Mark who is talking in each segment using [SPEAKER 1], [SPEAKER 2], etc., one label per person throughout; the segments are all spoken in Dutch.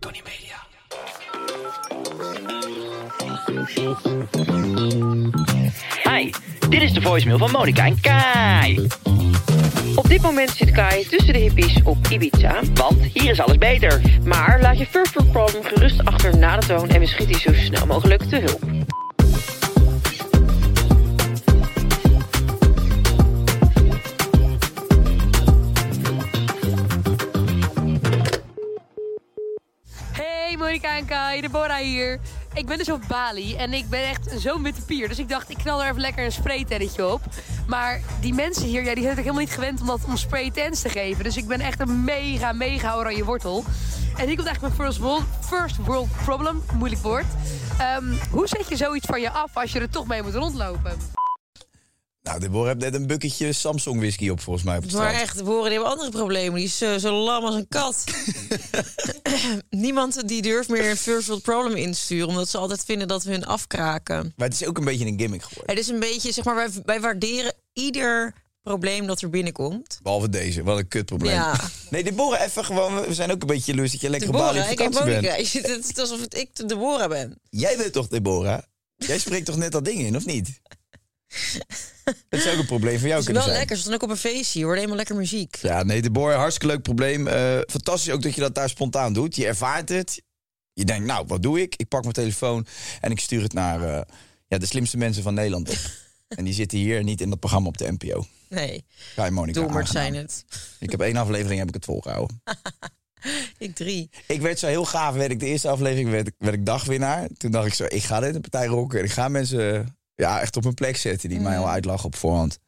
[SPEAKER 1] Tony Media.
[SPEAKER 2] Hi, dit is de voicemail van Monica en Kai.
[SPEAKER 3] Op dit moment zit Kai tussen de hippies op Ibiza.
[SPEAKER 2] Want hier is alles beter.
[SPEAKER 3] Maar laat je First World Problem gerust achter na de toon en we schieten je zo snel mogelijk te hulp.
[SPEAKER 4] Hey Monika en Kai, Deborah hier. Ik ben dus op Bali en ik ben echt zo'n witte pier. Dus ik dacht, ik knal er even lekker een spraytennetje op. Maar die mensen hier, ja, die zijn het helemaal niet gewend om, dat, om spraytents te geven. Dus ik ben echt een mega, mega oranje wortel. En hier komt eigenlijk mijn first world, first world problem, moeilijk woord. Ehm, hoe zet je zoiets van je af als je er toch mee moet rondlopen?
[SPEAKER 5] Nou, Deborah heeft net een bukketje Samsung whisky op volgens mij op het
[SPEAKER 6] Maar
[SPEAKER 5] strand.
[SPEAKER 6] echt, de boeren die hebben andere problemen. Die is eh, zo lam als een kat. Niemand die durft meer een first world problem insturen... omdat ze altijd vinden dat we hun afkraken.
[SPEAKER 5] Maar het is ook een beetje een gimmick geworden.
[SPEAKER 6] Het is een beetje, zeg maar, wij, wij waarderen ieder probleem dat er binnenkomt.
[SPEAKER 5] Behalve deze, wat een kutprobleem.
[SPEAKER 6] Ja.
[SPEAKER 5] Nee, Deborah, even gewoon. We zijn ook een beetje jaloers dat je lekker
[SPEAKER 6] De
[SPEAKER 5] op Bali op
[SPEAKER 6] boeren, ik heb
[SPEAKER 5] vakantie
[SPEAKER 6] Monica.
[SPEAKER 5] bent.
[SPEAKER 6] Het is alsof het ik de boeren ben.
[SPEAKER 5] Jij bent toch Deborah? Jij spreekt toch net dat ding in, of niet? Dat zou ook een probleem voor jou
[SPEAKER 6] Het is
[SPEAKER 5] kunnen
[SPEAKER 6] wel
[SPEAKER 5] zijn.
[SPEAKER 6] lekker, ze dan ook op een feestje. Je hoort helemaal lekker muziek.
[SPEAKER 5] dus Ja, nee, Deborah, hartstikke leuk probleem. Eh, fantastisch ook dat je dat daar spontaan doet. Je ervaart het. Je denkt, nou, wat doe ik? Ik pak mijn telefoon en ik stuur het naar eh, ja, de slimste mensen van Nederland op. en die zitten hier niet in dat programma op de NPO.
[SPEAKER 6] Nee,
[SPEAKER 5] Ga je Monica
[SPEAKER 6] doemers
[SPEAKER 5] aangenaam.
[SPEAKER 6] zijn het.
[SPEAKER 5] Ik heb één aflevering heb ik het volgehouden.
[SPEAKER 6] Ik drie.
[SPEAKER 5] Ik werd zo heel gaaf, werd ik de eerste aflevering werd, ik- werd ik dagwinnaar. Toen dacht ik zo, ik ga dit in de partij rocken. En ik ga mensen ja, echt op hun plek zetten die
[SPEAKER 6] Mm.
[SPEAKER 5] mij al uitlachen op voorhand.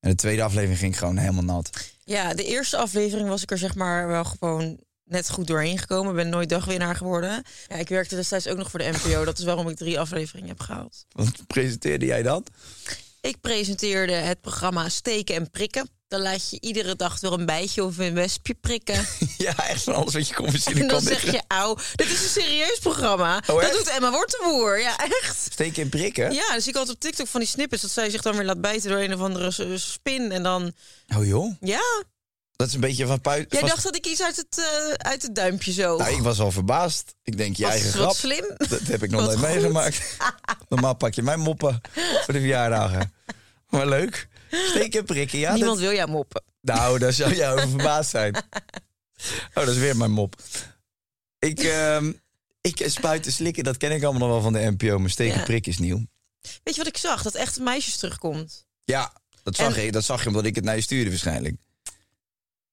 [SPEAKER 5] En de tweede aflevering ging ik gewoon helemaal nat.
[SPEAKER 6] Ja, de eerste aflevering was ik er zeg maar wel gewoon net goed doorheen gekomen. Ben nooit dagwinnaar geworden. Ja, ik werkte destijds ook nog voor de NPO. Dat is waarom ik drie afleveringen heb gehaald.
[SPEAKER 5] Want presenteerde jij dat?
[SPEAKER 6] Ik presenteerde het programma Steken en Prikken. Dan laat je iedere dag weer een bijtje of een wespje prikken.
[SPEAKER 5] Ja, echt van alles wat je kon
[SPEAKER 6] En
[SPEAKER 5] verzinnen
[SPEAKER 6] dan
[SPEAKER 5] kan
[SPEAKER 6] zeg
[SPEAKER 5] liggen.
[SPEAKER 6] je, auw, dit is een serieus programma. dat
[SPEAKER 5] echt?
[SPEAKER 6] doet Emma Wortenboer. Ja, echt.
[SPEAKER 5] Steken en prikken?
[SPEAKER 6] Ja, dus ik had op TikTok van die snippets dat zij zich dan weer laat bijten door een of andere s- spin. En dan,
[SPEAKER 5] Oh joh,
[SPEAKER 6] ja.
[SPEAKER 5] dat is een beetje van puit.
[SPEAKER 6] Jij
[SPEAKER 5] van-
[SPEAKER 6] dacht dat ik iets uit het, eh, uit het duimpje zo.
[SPEAKER 5] Nou, ik was al verbaasd. Ik denk, je
[SPEAKER 6] Wat-
[SPEAKER 5] eigen
[SPEAKER 6] wat
[SPEAKER 5] grap.
[SPEAKER 6] slim.
[SPEAKER 5] Dat heb ik nog
[SPEAKER 6] Wat
[SPEAKER 5] nooit
[SPEAKER 6] goed.
[SPEAKER 5] meegemaakt. Normaal pak je mijn moppen voor de verjaardagen. Maar leuk. Steken en prikken, ja. dat-
[SPEAKER 6] Niemand wil jou moppen.
[SPEAKER 5] Nou, daar zou jij over verbaasd zijn. Oh, dat is weer mijn mop. Ik, ehm ik spuiten slikken, dat ken ik allemaal nog wel van de NPO. Maar steken
[SPEAKER 6] Ja.
[SPEAKER 5] prik is nieuw.
[SPEAKER 6] Weet je wat ik zag? Dat echt meisjes terugkomt.
[SPEAKER 5] Ja, dat zag,
[SPEAKER 6] En- Oh,
[SPEAKER 5] je, dat zag je omdat ik het naar je stuurde waarschijnlijk.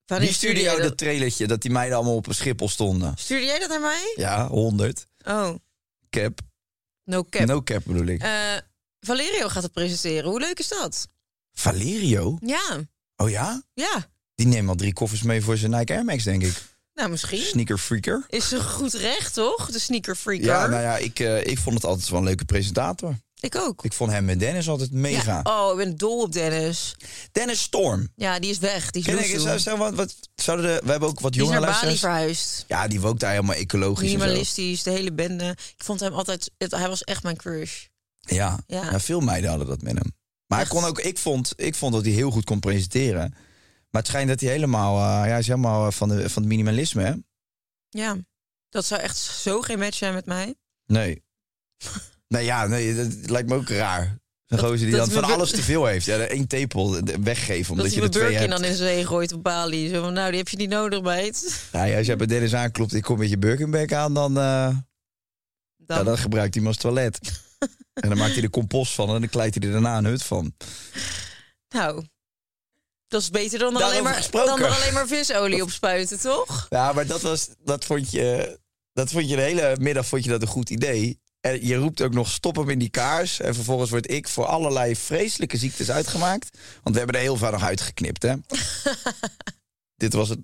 [SPEAKER 6] Wanneer
[SPEAKER 5] Wie stuurde jou dat trailertje dat die meiden allemaal op een Schiphol stonden?
[SPEAKER 6] Stuurde jij dat naar mij?
[SPEAKER 5] Ja, 100.
[SPEAKER 6] Oh,
[SPEAKER 5] Cap.
[SPEAKER 6] no cap.
[SPEAKER 5] No cap bedoel ik.
[SPEAKER 6] Eh, Valerio gaat het presenteren. Hoe leuk is dat?
[SPEAKER 5] Valerio?
[SPEAKER 6] Ja,
[SPEAKER 5] Oh ja?
[SPEAKER 6] ja.
[SPEAKER 5] Die neemt al drie koffers mee voor zijn Nike Air Max, denk ik.
[SPEAKER 6] Nou, misschien.
[SPEAKER 5] Sneaker freaker.
[SPEAKER 6] Is ze goed recht, toch? De sneaker freaker.
[SPEAKER 5] Ja, nou ja, ik, eh, ik vond het altijd wel een leuke presentator.
[SPEAKER 6] Ik ook.
[SPEAKER 5] Ik vond hem met Dennis altijd mega.
[SPEAKER 6] Ja. Oh, ik ben dol op Dennis.
[SPEAKER 5] Dennis Storm.
[SPEAKER 6] Ja, die is weg. Die is
[SPEAKER 5] Ken ik,
[SPEAKER 6] loesoe.
[SPEAKER 5] zou, zou- wat, wat, zouden de, we hebben ook wat
[SPEAKER 6] Die is
[SPEAKER 5] jonge
[SPEAKER 6] naar Bali
[SPEAKER 5] luisteraars.
[SPEAKER 6] verhuisd.
[SPEAKER 5] Ja, die woont daar helemaal ecologisch en zo.
[SPEAKER 6] Minimalistisch, de hele bende. Ik vond hem altijd... het- hij was echt mijn crush.
[SPEAKER 5] Ja.
[SPEAKER 6] Ja.
[SPEAKER 5] Ja, veel meiden hadden dat met hem. Maar hij
[SPEAKER 6] Echt?
[SPEAKER 5] kon ook, ik, vond, ik vond dat hij heel goed kon presenteren. Maar het schijnt dat hij helemaal, eh, ja, hij is helemaal eh, van, de, van het minimalisme, hè?
[SPEAKER 6] Ja. Dat zou echt zo geen match zijn met mij.
[SPEAKER 5] Nee. nou ja, nee, dat lijkt me ook raar. Een gozer die
[SPEAKER 6] dat
[SPEAKER 5] dan
[SPEAKER 6] is
[SPEAKER 5] van
[SPEAKER 6] mijn-
[SPEAKER 5] alles te veel heeft. Ja, de één tepel de- weggeven omdat
[SPEAKER 6] Dat hij
[SPEAKER 5] je
[SPEAKER 6] mijn
[SPEAKER 5] er twee
[SPEAKER 6] burkje
[SPEAKER 5] hebt.
[SPEAKER 6] dan in zee gooit op Bali. Zo van, nou, die heb je niet nodig, meid.
[SPEAKER 5] Ja, als jij bij Dennis aanklopt, ik kom met je Birkenbeck aan, dan, eh,
[SPEAKER 6] Dan,
[SPEAKER 5] ja, dan gebruikt hij hem als toilet. en dan maakt hij er compost van en dan kleidt hij er daarna een hut van.
[SPEAKER 6] Nou, dat is beter dan er,
[SPEAKER 5] Daarover
[SPEAKER 6] alleen maar,
[SPEAKER 5] gesproken.
[SPEAKER 6] dan er alleen maar visolie op spuiten, toch?
[SPEAKER 5] Ja, maar dat was, dat vond je, dat vond je de hele middag vond je dat een goed idee. En je roept ook nog stop hem in die kaars. En vervolgens word ik voor allerlei vreselijke ziektes uitgemaakt. Want we hebben er heel vaak nog uitgeknipt, hè. Dit was het,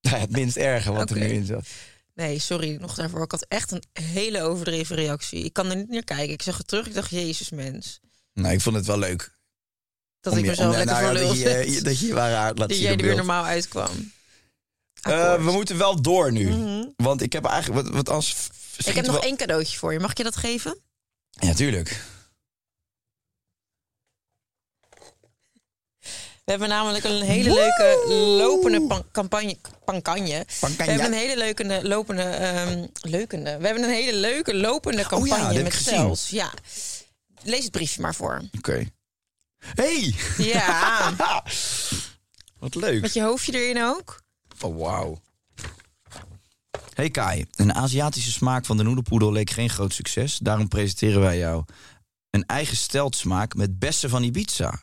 [SPEAKER 5] nou ja, het minst erge wat
[SPEAKER 6] Oké.
[SPEAKER 5] er nu in zat.
[SPEAKER 6] Nee, sorry nog daarvoor. Ik had echt een hele overdreven reactie. Ik kan er niet naar kijken. Ik zag het terug. Ik dacht, jezus mens.
[SPEAKER 5] Nou, ik vond het wel leuk.
[SPEAKER 6] Dat
[SPEAKER 5] Om
[SPEAKER 6] ik
[SPEAKER 5] je-
[SPEAKER 6] mezelf
[SPEAKER 5] om-
[SPEAKER 6] lekker
[SPEAKER 5] nou
[SPEAKER 6] voor
[SPEAKER 5] ja,
[SPEAKER 6] lul
[SPEAKER 5] dat je, je-
[SPEAKER 6] zet.
[SPEAKER 5] dat je je ware aard laat
[SPEAKER 6] Dat
[SPEAKER 5] zien
[SPEAKER 6] jij
[SPEAKER 5] op
[SPEAKER 6] er weer
[SPEAKER 5] beeld.
[SPEAKER 6] normaal uitkwam.
[SPEAKER 5] Eh,
[SPEAKER 6] Akkoord. Mhm.
[SPEAKER 5] we moeten wel door nu. Want ik heb eigenlijk... Wat, wat als
[SPEAKER 6] Ik heb nog één cadeautje voor je. Mag ik je dat geven?
[SPEAKER 5] Ja, tuurlijk.
[SPEAKER 6] We hebben namelijk een hele leuke lopende pan- campagne. Pankanje. We
[SPEAKER 5] Pankanje.
[SPEAKER 6] hebben een hele leuke eh, lopende, ehm, leukende. We hebben een hele leuke lopende
[SPEAKER 5] Oh dat
[SPEAKER 6] campagne
[SPEAKER 5] heb ik
[SPEAKER 6] met
[SPEAKER 5] gezien.
[SPEAKER 6] sales. Ja. Lees het briefje maar voor.
[SPEAKER 5] Oké. Hey!
[SPEAKER 6] Ja.
[SPEAKER 5] Wat leuk.
[SPEAKER 6] met je hoofdje erin ook.
[SPEAKER 5] Oh, wauw. Hey Kai, een Aziatische smaak van de noedelpoedel leek geen groot succes. Daarom presenteren wij jou een eigen steltsmaak met bessen van Ibiza.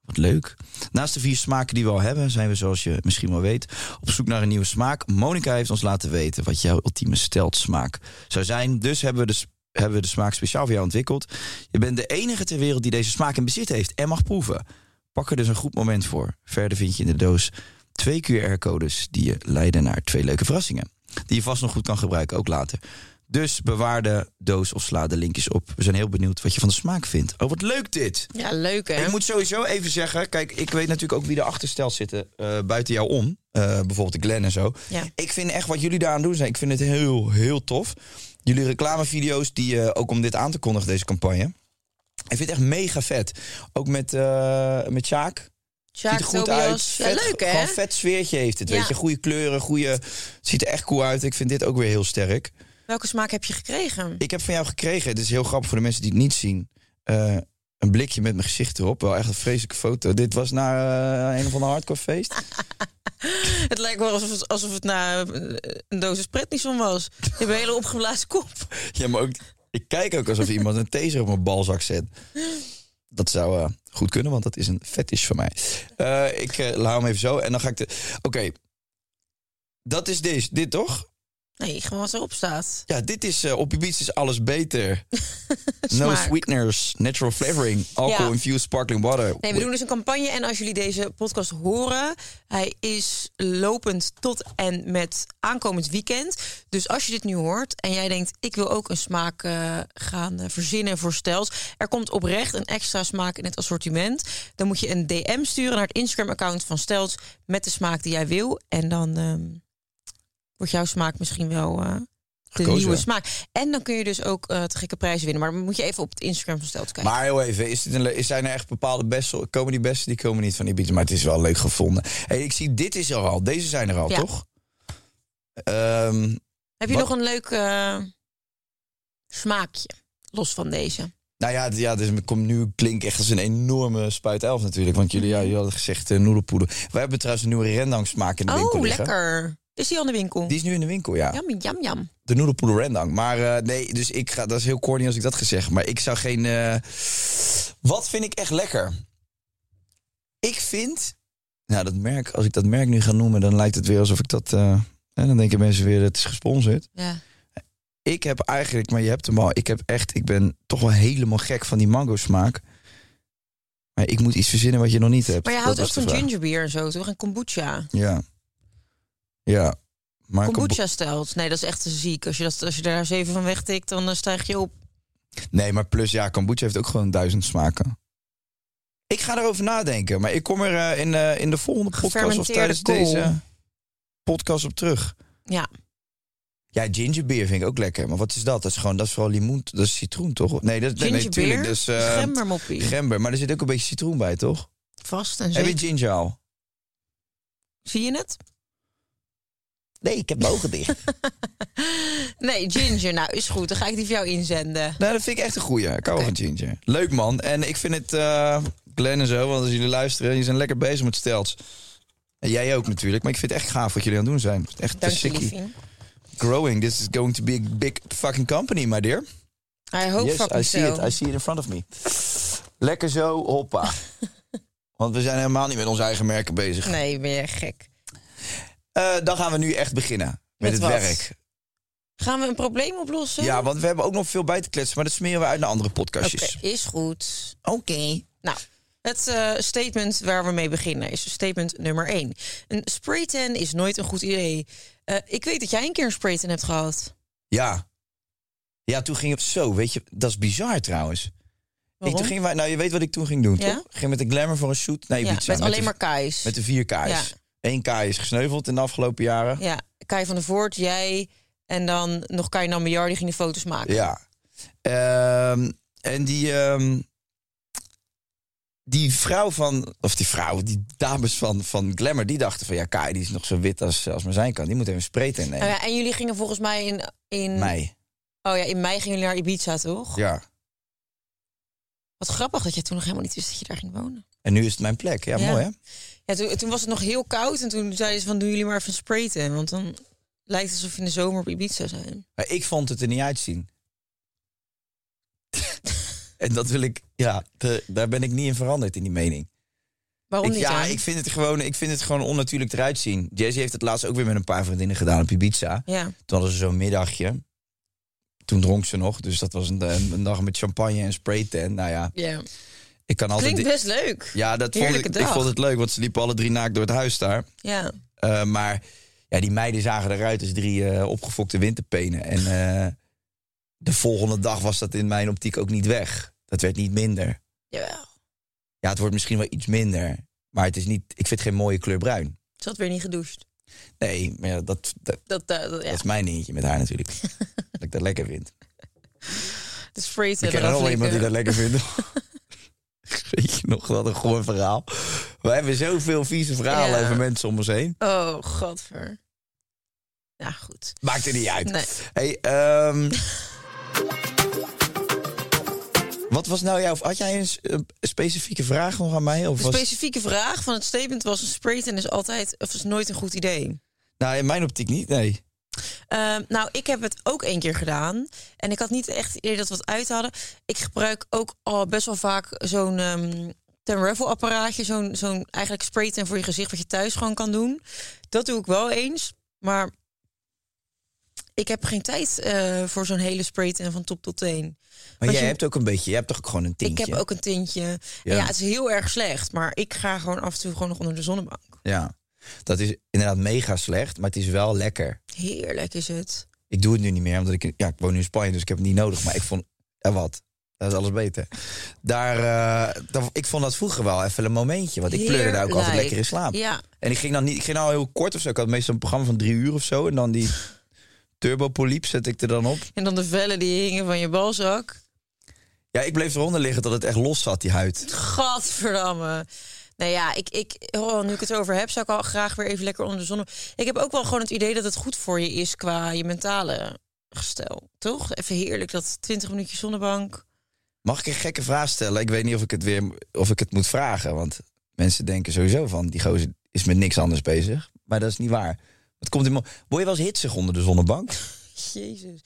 [SPEAKER 5] Wat leuk. Naast de vier smaken die we al hebben, zijn we zoals je misschien wel weet... op zoek naar een nieuwe smaak. Monica heeft ons laten weten wat jouw ultieme steltsmaak zou zijn. Dus hebben we de, s- hebben we de smaak speciaal voor jou ontwikkeld. Je bent de enige ter wereld die deze smaak in bezit heeft en mag proeven. Pak er dus een goed moment voor. Verder vind je in de doos twee QR-codes die je leiden naar twee leuke verrassingen. Die je vast nog goed kan gebruiken, ook later. Dus bewaar de doos of sla de linkjes op. We zijn heel benieuwd wat je van de smaak vindt. Oh, wat leuk dit!
[SPEAKER 6] Ja, leuk hè?
[SPEAKER 5] Ik moet sowieso even zeggen, kijk, ik weet natuurlijk ook wie erachter stelt zitten eh, buiten jou om. Eh, bijvoorbeeld de Glenn en zo.
[SPEAKER 6] Ja.
[SPEAKER 5] Ik vind echt wat jullie daaraan doen zijn, ik vind het heel, heel tof. Jullie reclamevideo's, die, eh, ook om dit aan te kondigen, deze campagne. Ik vind het echt mega vet. Ook met, eh met Sjaak.
[SPEAKER 6] Sjaak,
[SPEAKER 5] ziet er goed
[SPEAKER 6] Tobias.
[SPEAKER 5] uit.
[SPEAKER 6] Ja, leuk hè?
[SPEAKER 5] Gewoon vet sfeertje heeft het,
[SPEAKER 6] Ja.
[SPEAKER 5] weet je. Goede kleuren, goede... Het ziet er echt cool uit. Ik vind dit ook weer heel sterk.
[SPEAKER 6] Welke smaak heb je gekregen?
[SPEAKER 5] Ik heb van jou gekregen, het is heel grappig voor de mensen die het niet zien... eh, een blikje met mijn gezicht erop. Wel echt een vreselijke foto. Dit was na eh, een of ander hardcore feest.
[SPEAKER 6] Het lijkt wel alsof het, alsof het na eh, een dosis pretnison was. Je hebt een hele opgeblazen kop.
[SPEAKER 5] ja, maar ook, ik kijk ook alsof iemand een taser op mijn balzak zet. Dat zou eh, goed kunnen, want dat is een fetish van mij. Eh, ik eh, laat hem even zo en dan ga ik de... Oké, dat is dit, dit toch?
[SPEAKER 6] Nee, gewoon wat erop staat.
[SPEAKER 5] Ja, dit is eh, op Ibiza is alles beter. no
[SPEAKER 6] Smaak.
[SPEAKER 5] sweeteners, natural flavoring, alcohol infused sparkling water.
[SPEAKER 6] Nee, we doen dus een campagne. En als jullie deze podcast horen, hij is lopend tot en met aankomend weekend. Dus als je dit nu hoort en jij denkt, ik wil ook een smaak eh, gaan eh, verzinnen voor stels. Er komt oprecht een extra smaak in het assortiment. Dan moet je een DM sturen naar het Instagram-account van stels met de smaak die jij wil. En dan ehm, wordt jouw smaak misschien wel... eh, de
[SPEAKER 5] Gekozen.
[SPEAKER 6] nieuwe smaak. En dan kun je dus ook eh te gekke prijzen winnen. Maar dan moet je even op het Instagram van Stels kijken.
[SPEAKER 5] Maar heel even, is dit een, le- is- zijn er echt bepaalde bessen? Komen die bessen? Die komen niet van Ibiza, maar het is wel leuk gevonden. Hey, ik zie, dit is er al. Deze zijn er al,
[SPEAKER 6] Ja.
[SPEAKER 5] toch? Ehm,
[SPEAKER 6] Heb je
[SPEAKER 5] Wat-
[SPEAKER 6] nog een leuk eh, smaakje? Los van deze.
[SPEAKER 5] nou ja, d- ja dus het komt nu klinkt echt als een enorme spuit elf natuurlijk. Want jullie, ja, jullie hadden gezegd eh, noedelpoeder. Wij hebben trouwens een nieuwe rendang smaak in de winkel
[SPEAKER 6] Oh,
[SPEAKER 5] liggen.
[SPEAKER 6] lekker. Is die al in de winkel?
[SPEAKER 5] Die is nu in de winkel, ja.
[SPEAKER 6] Jam, jam, jam.
[SPEAKER 5] de noedelpoeder rendang. Maar eh, nee, dus ik ga, dat is heel corny als ik dat ga zeggen. Maar ik zou geen... eh, Wat vind ik echt lekker? Ik vind... Nou, dat merk, als ik dat merk nu ga noemen, dan lijkt het weer alsof ik dat... eh, en dan denken mensen weer, het is gesponsord.
[SPEAKER 6] Ja.
[SPEAKER 5] Ik heb eigenlijk, maar je hebt hem al. Ik heb echt, ik ben toch wel helemaal gek van die mango smaak. Maar ik moet iets verzinnen wat je nog niet hebt.
[SPEAKER 6] Maar je
[SPEAKER 5] Dat
[SPEAKER 6] houdt ook
[SPEAKER 5] was de
[SPEAKER 6] van
[SPEAKER 5] vraag.
[SPEAKER 6] gingerbeer en zo, toch? En kombucha.
[SPEAKER 5] Ja. Ja. Maar kombu-
[SPEAKER 6] Kombucha stelt. Nee, dat is echt ziek. Als je, dat, als je daar zeven van wegtikt, dan eh, stijg je op.
[SPEAKER 5] Nee, maar plus ja, kombucha heeft ook gewoon duizend smaken. Ik ga erover nadenken, maar ik kom er eh, in, eh, in de volgende podcast of tijdens
[SPEAKER 6] Gefermenteerde kool.
[SPEAKER 5] deze podcast op terug.
[SPEAKER 6] Ja.
[SPEAKER 5] Ja, gingerbeer vind ik ook lekker, maar wat is dat? Dat is gewoon, dat is vooral limoen, dat is citroen toch? Nee, dat nee, nee,
[SPEAKER 6] Gingerbeer,
[SPEAKER 5] tuurlijk, dat is eh,
[SPEAKER 6] gembermoppie.
[SPEAKER 5] gember, maar er zit ook een beetje citroen bij, toch?
[SPEAKER 6] Vast en
[SPEAKER 5] Heb
[SPEAKER 6] zeker.
[SPEAKER 5] je ginger al?
[SPEAKER 6] Zie je het?
[SPEAKER 5] Nee, ik heb mijn ogen dicht.
[SPEAKER 6] Nee, ginger. Nou, is goed. Dan ga ik die voor jou inzenden.
[SPEAKER 5] Nou, dat vind ik echt een goeie. Ik hou wel van Ginger. Leuk man. En ik vind het, eh Glenn en zo, want als jullie luisteren, jullie zijn lekker bezig met stels. En jij ook natuurlijk, maar ik vind het echt gaaf wat jullie aan het doen zijn. Echt te
[SPEAKER 6] Dank je,
[SPEAKER 5] sicky.
[SPEAKER 6] liefie.
[SPEAKER 5] Growing, this is going to be a big fucking company, my dear.
[SPEAKER 6] I hope
[SPEAKER 5] yes,
[SPEAKER 6] fucking
[SPEAKER 5] I see
[SPEAKER 6] so.
[SPEAKER 5] it, I see it in front of me. Lekker zo, hoppa. want we zijn helemaal niet met onze eigen merken bezig.
[SPEAKER 6] Nee, ben je gek.
[SPEAKER 5] Eh, dan gaan we nu echt beginnen met,
[SPEAKER 6] Met
[SPEAKER 5] het
[SPEAKER 6] wat?
[SPEAKER 5] werk.
[SPEAKER 6] Gaan we een probleem oplossen?
[SPEAKER 5] Ja, want we hebben ook nog veel bij te kletsen, maar dat smeren we uit naar andere
[SPEAKER 6] Oké,
[SPEAKER 5] podcastjes.
[SPEAKER 6] is goed.
[SPEAKER 5] Oké.
[SPEAKER 6] Nou, het eh, statement waar we mee beginnen is statement nummer 1. Een spraytan is nooit een goed idee. Eh, ik weet dat jij een keer een spraytan hebt gehad.
[SPEAKER 5] Ja. Ja, toen ging het zo, weet je, dat is bizar trouwens. Ik,
[SPEAKER 6] Waarom?
[SPEAKER 5] toen ging wij, nou, je weet wat ik toen ging doen,
[SPEAKER 6] Ja?
[SPEAKER 5] toch? Ik ging met de Glamour voor een shoot naar
[SPEAKER 6] ja,
[SPEAKER 5] Ibiza.
[SPEAKER 6] met, alleen
[SPEAKER 5] de,
[SPEAKER 6] maar kaais.
[SPEAKER 5] Met de vier K's.
[SPEAKER 6] Ja.
[SPEAKER 5] Eén K is gesneuveld in de afgelopen jaren.
[SPEAKER 6] Ja, Kai van der Voort, jij en dan nog Kai Nambiar, die gingen foto's maken.
[SPEAKER 5] Ja. Ehm, en die, ehm, die vrouw van, of die vrouw, die dames van, van Glamour, die dachten van ja, Kai, die is nog zo wit als, als maar zijn kan. Die moet even spreet innemen.
[SPEAKER 6] Nou ja, en jullie gingen volgens mij in, in,
[SPEAKER 5] Mij.
[SPEAKER 6] Oh ja, in mei gingen jullie naar Ibiza, toch?
[SPEAKER 5] Ja.
[SPEAKER 6] Wat grappig dat jij toen nog helemaal niet wist dat je daar ging wonen.
[SPEAKER 5] En nu is het mijn plek. Ja,
[SPEAKER 6] Ja.
[SPEAKER 5] mooi hè?
[SPEAKER 6] Ja, toen, toen was het nog heel koud en toen zeiden ze van doen jullie maar even een spraytan. Want dan lijkt het alsof je in de zomer op Ibiza zijn.
[SPEAKER 5] Maar ik vond het er niet uitzien. en dat wil ik, ja, de- daar ben ik niet in veranderd in die mening.
[SPEAKER 6] Waarom
[SPEAKER 5] Ik-
[SPEAKER 6] niet
[SPEAKER 5] ja,
[SPEAKER 6] dan?
[SPEAKER 5] ik vind, het gewoon, ik vind het gewoon onnatuurlijk eruit zien. Jesse heeft het laatst ook weer met een paar vriendinnen gedaan op Ibiza.
[SPEAKER 6] Ja,
[SPEAKER 5] Toen hadden ze zo'n middagje. Toen dronk ze nog, dus dat was een, eh, een dag met champagne en spraytan. Nou ja,
[SPEAKER 6] ja.
[SPEAKER 5] ik kan altijd...
[SPEAKER 6] klinkt best leuk.
[SPEAKER 5] ja, dat vond ik,
[SPEAKER 6] Heerlijke
[SPEAKER 5] ik
[SPEAKER 6] dag.
[SPEAKER 5] vond het leuk, want ze liepen alle drie naakt door het huis daar.
[SPEAKER 6] Ja.
[SPEAKER 5] Eh, maar ja, die meiden zagen eruit als drie eh, opgefokte winterpenen. En eh, de volgende dag was dat in mijn optiek ook niet weg. Dat werd niet minder.
[SPEAKER 6] Jawel.
[SPEAKER 5] Ja, het wordt misschien wel iets minder. Maar het is niet, ik vind het geen mooie kleur bruin.
[SPEAKER 6] Ze had weer niet gedoucht.
[SPEAKER 5] Nee, maar ja, dat, dat,
[SPEAKER 6] Dat, dat, dat- ja.
[SPEAKER 5] dat is mijn dingetje met haar natuurlijk. dat ik dat lekker vind.
[SPEAKER 6] De spraytan.
[SPEAKER 5] Ik ken
[SPEAKER 6] eraf
[SPEAKER 5] er al iemand die
[SPEAKER 6] likken.
[SPEAKER 5] dat lekker vindt. Weet je nog, wat een goor verhaal. We hebben zoveel vieze verhalen
[SPEAKER 6] Ja.
[SPEAKER 5] over mensen om ons heen.
[SPEAKER 6] Oh, godver. Ja, goed.
[SPEAKER 5] Maakt er niet uit.
[SPEAKER 6] Nee.
[SPEAKER 5] Hey, ehm, wat was nou jouw... Had jij een, s- een specifieke vraag nog aan mij? Of
[SPEAKER 6] De
[SPEAKER 5] was,
[SPEAKER 6] specifieke vraag van het statement was: een spraytan is altijd of is nooit een goed idee.
[SPEAKER 5] nou, in mijn optiek niet, nee.
[SPEAKER 6] Ehm, nou, ik heb het ook één keer gedaan. En ik had niet echt het idee dat we het uit hadden. Ik gebruik ook al best wel vaak zo'n ehm ten revel apparaatje. Zo'n zo'n eigenlijk spraytan voor je gezicht wat je thuis gewoon kan doen. Dat doe ik wel eens. Maar ik heb geen tijd eh, voor zo'n hele spraytan van top tot teen.
[SPEAKER 5] Maar
[SPEAKER 6] Want
[SPEAKER 5] jij
[SPEAKER 6] je-
[SPEAKER 5] hebt ook een beetje... Jij hebt toch ook gewoon een tintje?
[SPEAKER 6] Ik heb ook een tintje. En
[SPEAKER 5] Ja.
[SPEAKER 6] Ja. het is heel erg slecht. Maar ik ga gewoon af en toe gewoon nog onder de zonnebank.
[SPEAKER 5] Ja. Dat is inderdaad mega slecht, maar het is wel lekker.
[SPEAKER 6] Heerlijk is het.
[SPEAKER 5] Ik doe het nu niet meer, omdat ik, ja, ik woon nu in Spanje, dus ik heb het niet nodig. Maar ik vond, en wat? Dat is alles beter. Daar, eh, dat- ik vond dat vroeger wel even een momentje, want ik pleurde daar ook altijd
[SPEAKER 6] Heerlijk.
[SPEAKER 5] lekker in slaap.
[SPEAKER 6] Ja.
[SPEAKER 5] En ik ging dan niet, ik ging al heel kort of zo. Ik had meestal een programma van drie uur of zo. En dan die turbopoliep zet ik er dan op.
[SPEAKER 6] En dan de vellen die hingen van je balzak.
[SPEAKER 5] Ja, ik bleef eronder liggen tot het echt los zat, die huid.
[SPEAKER 6] Gadverdamme. Nou ja, ik, ik, oh, nu ik het over heb, zou ik al graag weer even lekker onder de zon. Ik heb ook wel gewoon het idee dat het goed voor je is qua je mentale gestel. Toch? Even heerlijk dat 20 minuutjes zonnebank.
[SPEAKER 5] Mag ik een gekke vraag stellen? Ik weet niet of ik het weer of ik het moet vragen. Want mensen denken sowieso van die gozer is met niks anders bezig. Maar dat is niet waar. Het komt in mo- Word je wel eens hitsig onder de zonnebank?
[SPEAKER 6] Jezus.